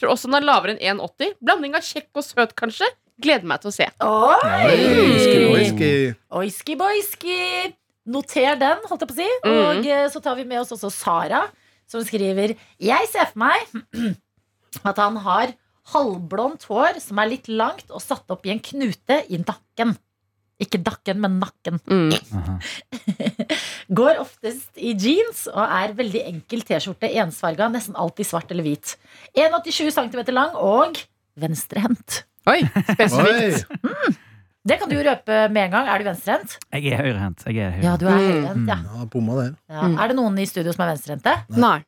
Tror også han er lavere enn 1,80. Blanding av kjekk og søt, kanskje. Gleder meg til å se. Whisky, Oi! whisky. Oiski boiski! Noter den, holdt jeg på å si. Og eh, så tar vi med oss også Sara, som skriver Jeg ser for meg *clears throat* at han har halvblondt hår som er litt langt og satt opp i en knute i nakken. Ikke dakken, men nakken. Mm. Aha. Går oftest i jeans og er veldig enkel T-skjorte, ensfarga, nesten alltid svart eller hvit. 1,87 cm lang og venstrehendt. Oi, Oi. spesifikt. Det kan du jo røpe med en gang. Er du venstrehendt? Jeg er høyrehendt. Jeg er høyrehendt. Ja, du er Mm. høyrehendt, ja. Ja, bomma der. Ja. Mm. Er det noen i studio som er venstrehendte? Nei.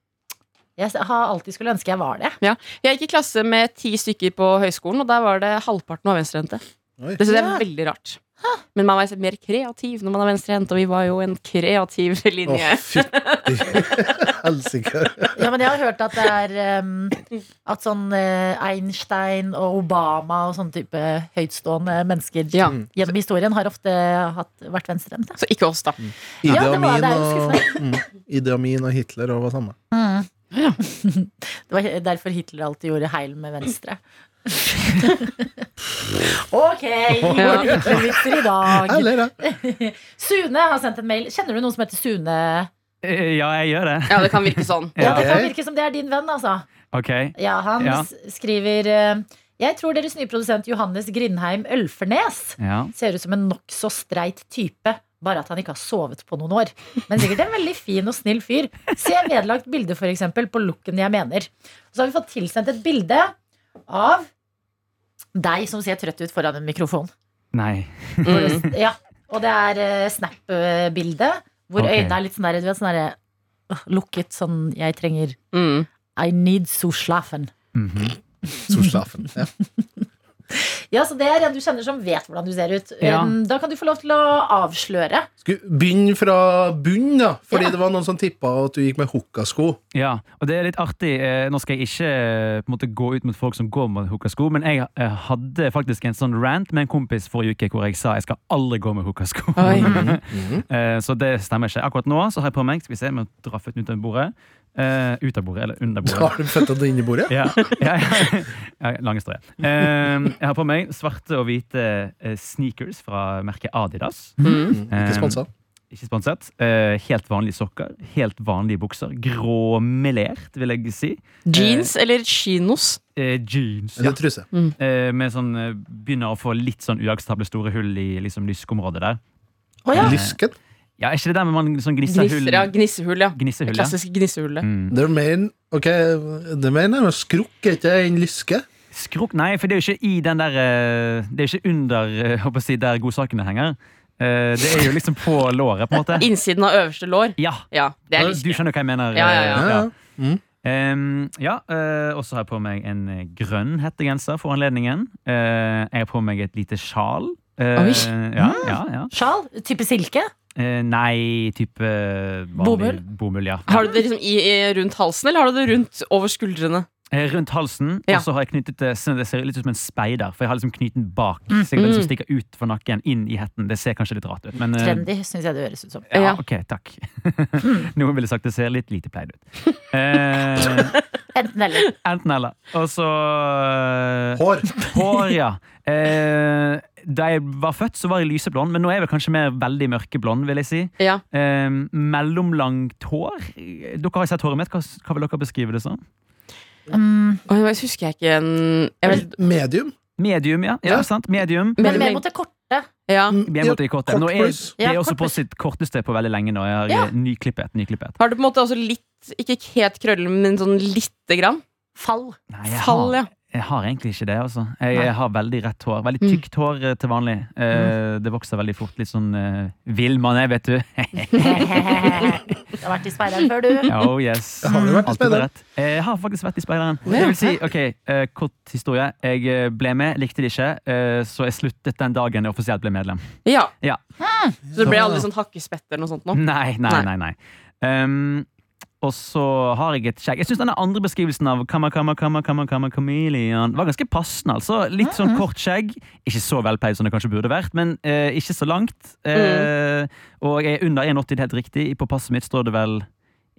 Jeg har alltid skulle ønske jeg var det. Jeg gikk i klasse med ti stykker på høyskolen, og der var det halvparten var venstrehendte. Oi. Det synes jeg Ja. er veldig rart. Men man var mer kreativ når man er venstrehendt, og vi var jo en kreativ Å, linje. fytti *laughs* helsike. Ja, men jeg har hørt at det er um, At sånn eh, Einstein og Obama og sånne type høytstående mennesker Ja. gjennom historien har ofte hatt, vært venstrehendte. Så ikke oss, da. Ja, det var- Ideamin det er jo og, mm, Idi Amin og Hitler og var samme. Det var derfor Hitler alltid gjorde heil med venstre. Ok, ingen vitser i dag. Eller, ja. Sune har sendt en mail. Kjenner du noen som heter Sune Eh, Ja, jeg gjør det. Ja, det kan virke sånn. Ja, det kan Ok. virke som det er din venn, altså. Ok. Ja, han Ja. s- skriver eh, Jeg tror deres nye produsent Johannes Grindheim Ølfernes Ja. ser ut som en nokså streit type. Bare at han ikke har sovet på noen år. Men sikkert en veldig fin og snill fyr. Se vedlagt bilde, for eksempel på looken jeg mener. Og så har vi fått tilsendt et bilde av deg som ser trøtt ut foran en mikrofon. Nei. *laughs* Mm. Ja, Og det er eh, Snap-bilde, hvor Ok. øynene er litt sånn der, du vet, sånn der, øh, lukket. Sånn jeg trenger Mm. I need so slafen. Mhm. Solslafen. Ja. Ja, så det er en du kjenner som vet hvordan du ser ut. Ja. Um, Da kan du få lov til å avsløre. Skulle begynne fra bunnen, da. Fordi Ja. det var noen som tippa at du gikk med hukkasko. Ja, og det er litt artig. eh, Nå skal jeg ikke eh, på en måte, gå ut mot folk som går med hookasko, men jeg eh, hadde faktisk en sånn rant med en kompis forrige uke hvor jeg sa jeg skal aldri gå med hookasko. Oi. *laughs* Eh, Så det stemmer ikke. Akkurat nå så har jeg på meg Skal vi se, jeg må dra føttene ut av bordet. Eh, ut av bordet, eller under Så bordet. har du føttene inne i bordet. *laughs* Ja, ja, ja. ja lange strø. Eh, jeg har på meg svarte og hvite eh, sneakers fra merket Adidas. Mm, Ikke sponsa. Ikke sponset. Eh, helt vanlige sokker, helt vanlige bukser. Gråmelert, vil jeg si. Jeans eller chinos? Eh, jeans. Eller truse. Eh, med sånn, eh, begynner å få litt sånn uakseptable store hull i liksom, lyskområdet der. ja. Lysken. Ja, er ikke det der med man sånn gnisser hull? Gnisser, ja. Gnissehull, ja. Gnissehull, ja. Klassisk gnissehull. Mm. Det er mer ok, det er mer nærmere skrukk er ikke det, enn lyske. Skrok? Nei, for det er jo ikke i den der eh, Det er jo ikke under eh, håper jeg å si, der godsakene henger. Eh, det er jo liksom på låret, på *laughs* en måte. Innsiden av øverste lår. Ja, Ja, det er du lyst. skjønner hva jeg mener. Ja, ja, Ja, ja. ja. eh, Mm. Em, ja, eh, og så har jeg på meg en eh, grønn hettegenser for anledningen. Eh, jeg har på meg et lite sjal. Eh, Oi. Mm. ja, ja, ja. Sjal? Type silke? Eh, nei, type eh, Bomull? vanlig Bomull, ja. Har du det liksom i, i, rundt halsen, eller har du det rundt over skuldrene? Eh, Rundt halsen, Ja. og så har jeg knyttet det sånn at det ser litt ut som en speider. For jeg har liksom knyttet den bak, så jeg liksom stikker ut fra nakken, inn i hetten. Det ser kanskje litt rart ut, men eh, Trendy, syns jeg det høres ut som. Ja. Ja, ok, takk. *laughs* Noen ville sagt det ser litt lite pleid ut. Eh, Enten eller. enten eller. Og så eh, Hår. Hår, ja. Eh, da jeg var født, så var jeg lyseblond, men nå er jeg vel kanskje mer veldig mørkeblond. vil jeg si. Ja. Eh, mellomlangt hår. Dere har jo sett håret mitt. Hva, hva vil dere beskrive det som? Mm, Oi, nå husker jeg ikke en jeg vet, Medium. Medium, ja. ja, Ja. sant? Medium. men Men- mer mot det korte. ja. Jeg måtte i kortet. Nå er, pluss. det er Ja, også kort på pluss. sitt korteste på veldig lenge nå. Jeg Ja. har eh, nyklippet. nyklippet. Har du på en måte også litt Ikke helt krøller, men sånn lite grann? Fall. *laughs* Nei, jeg Fall, har- ja. Jeg har egentlig ikke det. altså Jeg, Nei. jeg har veldig rett hår. Veldig Mm. tykt hår eh, til vanlig. Eh, Det vokser veldig fort. Litt sånn eh, vill man er, vet du. *laughs* du har vært i speideren før, du. oh yes. Har du vært i Alltid speideren? rett. Eh, Jeg har faktisk vært i speideren. Ja. Jeg vil si, ok, eh, Kort historie. Jeg eh, ble med, likte det ikke, eh, så jeg sluttet den dagen jeg offisielt ble medlem. Ja. Ja. Mm. Så det ble aldri sånn hakkespett eller noe sånt nå? Nei, nei, Nei. nei, nei. Um, og så har jeg et skjegg. Jeg syns denne andre beskrivelsen av kamma, kamma, kamma, kamma, kamma, chameleon var ganske passende. altså. Litt sånn kort skjegg. Ikke så velpleid som det kanskje burde vært, men eh, ikke så langt. Mm. Eh, Og jeg er under 1,80, det er helt riktig. På passet mitt står det vel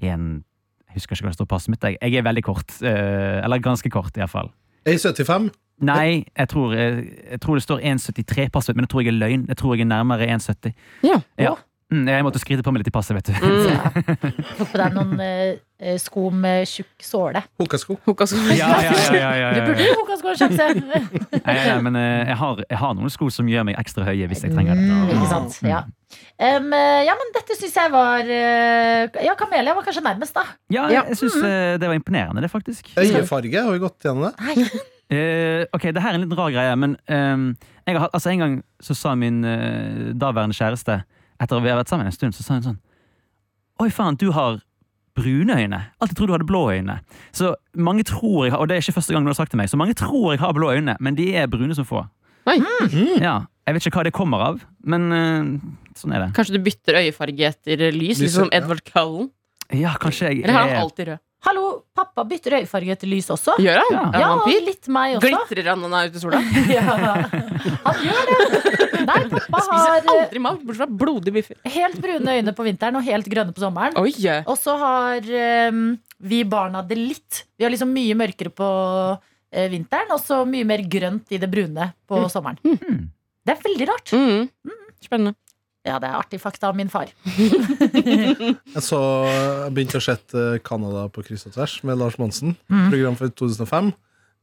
en Jeg husker ikke hva det står på passet mitt. Jeg, jeg er veldig kort. eh, eller ganske kort, iallfall. A75. Nei, jeg tror, jeg, jeg tror det står 1,73 passet mitt, men det tror jeg er løgn. Jeg tror jeg er nærmere 1,70. Ja. Ja. Mm, jeg måtte skryte på meg litt i passet, vet du. Mm. Altså, Tok på deg noen eh, eh, sko med tjukk såle. Hukkasko. Hukka sko. Ja, ja, ja, ja, Du Eh. ja, ja, burde ja. jo kanskje få en *laughs* sjanse. Nei, nei, men eh, jeg har, jeg har noen sko som gjør meg ekstra høye hvis jeg trenger Mm, det. ikke sant. Ja. Um, eh, ja, men dette syns jeg var eh, Ja, Kamelia var kanskje nærmest, da. Ja, jeg, jeg syns eh, det var imponerende, det, faktisk. Øyefarge, har vi gått gjennom det? Nei. Eh, ok, det her er en litt rar greie, men ehm, jeg har, hatt- altså, en gang så sa min eh, daværende kjæreste, etter at vi har vært sammen en stund, så sa hun sånn Oi, faen, du har brune øyne. Alltid trodde du hadde blå øyne. Så mange tror jeg har, og det er ikke første gang noen har sagt til meg, så mange tror jeg har blå øyne, men de er brune som få. Oi. Ja, jeg vet ikke hva det kommer av, men eh, sånn er det. Kanskje du bytter øyefarge etter lys, Lyset, liksom ja. Edward Cullen? Ja, kanskje jeg Eller har han er- alltid rød? Hallo, pappa bytter øyefarge til lys også. Gjør han? Ja. Er Ja, han og vampyr? litt meg også. Glitrer han når han er ute i sola? *laughs* Ja. Han gjør det! Nei, pappa *laughs* Spiser har eh, aldri mat, bortsett fra blodige biffer. helt brune øyne på vinteren og helt grønne på sommeren. Oi, Og så har eh, vi barna det litt. Vi har liksom mye mørkere på eh, vinteren, og så mye Mm. mer grønt i det brune på sommeren. Det er veldig rart. mm. Spennende. Ja, det er artig fakta av min far. Jeg så, jeg begynte å sette Canada på kryss og tvers med Lars Monsen. Program for 2005.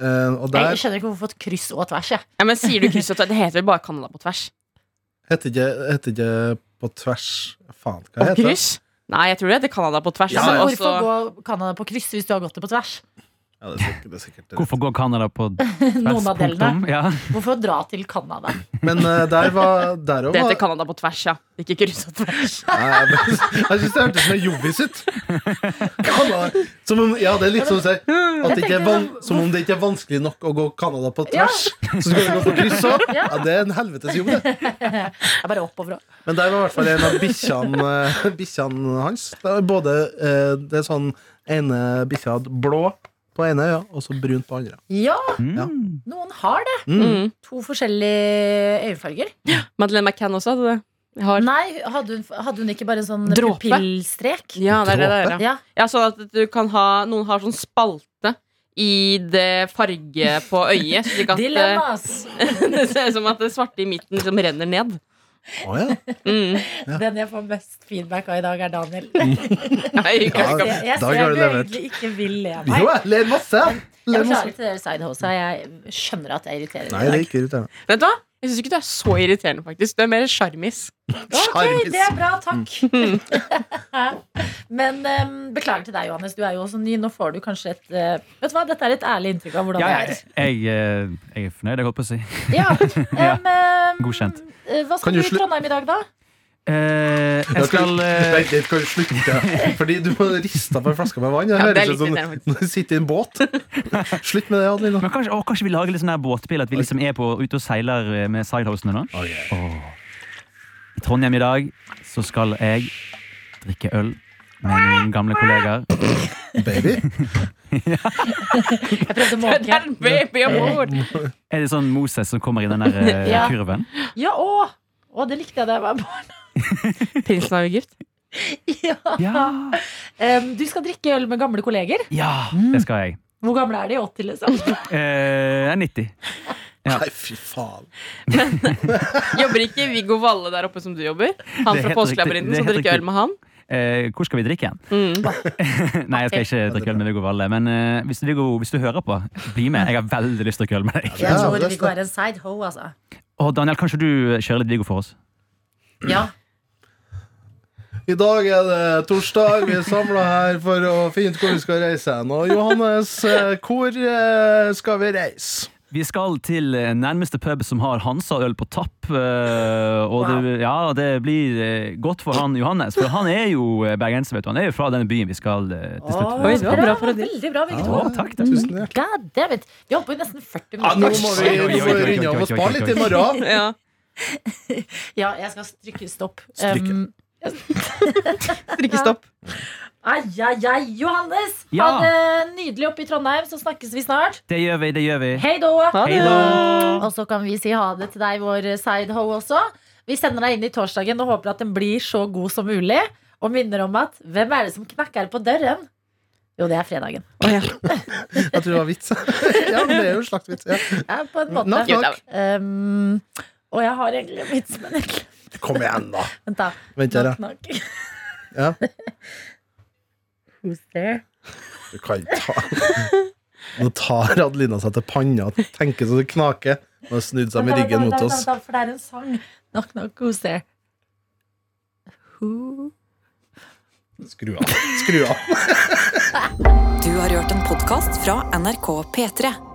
Eh, Og der Jeg skjønner ikke hvorfor et kryss og tvers, jeg. Ja, men sier du kryss og tvers? Det heter vel bare Canada på tvers? heter ikke, heter ikke på tvers Faen, hva Og heter det? kryss? Nei, jeg tror det heter Canada på tvers. Ja, altså, altså, ja. og så- hvorfor gå Canada på kryss hvis du har gått det på tvers? Ja, det er sikkert, det er sikkert det. Hvorfor går Canada på *laughs* tvers? Noen av delene. punktum? Ja. Hvorfor dra til Canada? Men eh, der var der også Det heter var- Canada på tvers, ja. Ikke kryss og tvers. Nei, men- Jeg *laughs* syns det hørtes mer jovis ut. Canada. Som om, ja, det er litt som, å si at det ikke er van, som om det ikke er vanskelig nok å gå Canada på tvers. Så skal vi gå på kryss òg? Ja, det er en helvetes jobb, det. Jeg bare oppover og Men der var i hvert fall en av bikkjene eh, bikkjene hans. Det er både eh, det er sånn ene bikkja hadde blå på ene øya, og så brunt på andre. Ja, Ja. Mm. noen har det. Mm. To forskjellige øyefarger. Madeleine McCann også hadde det. Jeg har. Nei, hadde hun, hadde hun ikke bare en sånn Dråpe. pupillstrek? Ja, det er det det er. Ja. Ja. Ja, sånn at du kan ha Noen har sånn spalte i det farge på øyet, slik at eh, *laughs* Dilemmas! det ser ut som at det svarte i midten liksom renner ned. Å, ja. Mm. Den jeg får mest feedback av i dag, er Daniel. Nei, jeg kan ikke- Jeg, jeg Dag har ser du du levert. egentlig ikke vil le av Jo, meg. jeg ler masse. Jeg Jeg ler masse. beklager til dere sidehosa. Jeg skjønner at jeg irriterer Nei, dere. det i er ikke irriterende. Vet du hva? Jeg syns ikke du er så irriterende, faktisk. Du er mer sjarmis. dag. Ok, Skjermis. det er bra. Takk. *laughs* Men em, beklager til deg, Johannes. Du er jo også ny. Nå får du kanskje et eh, Vet du hva, dette er et ærlig inntrykk av hvordan Ja, det jeg, er. jeg, eh, jeg er fornøyd, jeg holdt på å si. Ja. *laughs* em, em, Godkjent. eh, Hva Kan skal du du i slu- Trondheim i dag, da? Eh, jeg skal eh, Vent litt, kan du *laughs* slutte? Fordi du må riste på en flaske med vann. Det Ja, det høres er ut litt som irriterende, når du sitter i en *laughs* båt. Slutt med det, Adelina. men kanskje, å, kanskje vi lager litt sånn her båtbil? At vi liksom er på, ute og seiler eh, med sidehostene nå? Åh. I Trondheim i dag så skal jeg drikke øl med mine gamle kollegaer. Baby. Jeg prøvde å Det er måke. en baby om bord! Er det sånn Moses som kommer i den der eh, Ja. kurven? Ja, å! Å, det likte jeg da jeg var barn. Prinsen av Egypt. *laughs* Ja. Ja. Em, du skal drikke øl med gamle kolleger. ja! Det skal jeg. Hvor gamle er de? 80, liksom? Eh, Jeg er 90. Ja. Nei, fy faen. Jobber ikke Viggo Valle der oppe som du jobber? Han Det er fra helt riktig. Påskelabyrinten Det er som helt drikker riktig. øl med han? Eh, hvor skal vi drikke hen? Mm. Nei, jeg skal ikke drikke øl med Viggo Valle. Men eh, hvis, Viggo, hvis du hører på, bli med. Jeg har veldig lyst til å drikke øl med deg. Jeg Ja, tror det Viggo skal- er en side ho, altså. Og Daniel, kanskje du kjører litt Viggo for oss? Ja. I dag er det torsdag. Vi er samla her for å finne ut hvor vi skal reise hen. Og Johannes, eh, hvor eh, skal vi reise? Vi skal til eh, nærmeste pub som har Hansa-øl på tapp. eh, Og det, ja, det blir eh, godt for han Johannes, for han er jo eh, bergenser. vet du Han er jo fra denne byen vi skal eh, til slutt. Å, Oi, det var bra, bra parodi. Veldig bra, begge Å, to. takk, takk. Mm. Tusen hjertelig. God damn it. Vi holdt på i nesten 40 Ja, Ah, nå må vi, nå Oi, oi, må oi, vi oi, runde av oi, og oi, spare oi, litt oi. i morgen. *laughs* Ja. Ja, jeg skal strykke stopp. Strykke. Um, Drikkestopp. ai, ai, ai, Johannes! Ja. Ha det nydelig oppe i Trondheim, så snakkes vi snart. Det gjør vi, det gjør vi. Hei då! Ha Hei det! da. Og så kan vi si ha det til deg, vår sideho også. Vi sender deg inn i torsdagen og håper at den blir så god som mulig. Og minner om at hvem er det som knakker på døren? Jo, det er fredagen. Jeg tror det var vits. *laughs* Ja, men det er jo en slags vits. Ja. Ja, på en måte. Knock, knock. Um, og jeg har egentlig en vits, men jeg- Kom igjen, da. Vent, da. Vent her, Knock, da. knock. Ja. *laughs* Who's there? Du kan ta Nå tar Adelina seg til panna og tenker så det knaker. Nå har snudd seg med Vent da, ryggen vent da, mot vent da, oss. vent da, For det er en sang. Knock, knock, who's there? Who? Skru av. Skru av. Du har hørt en podkast fra NRK P3.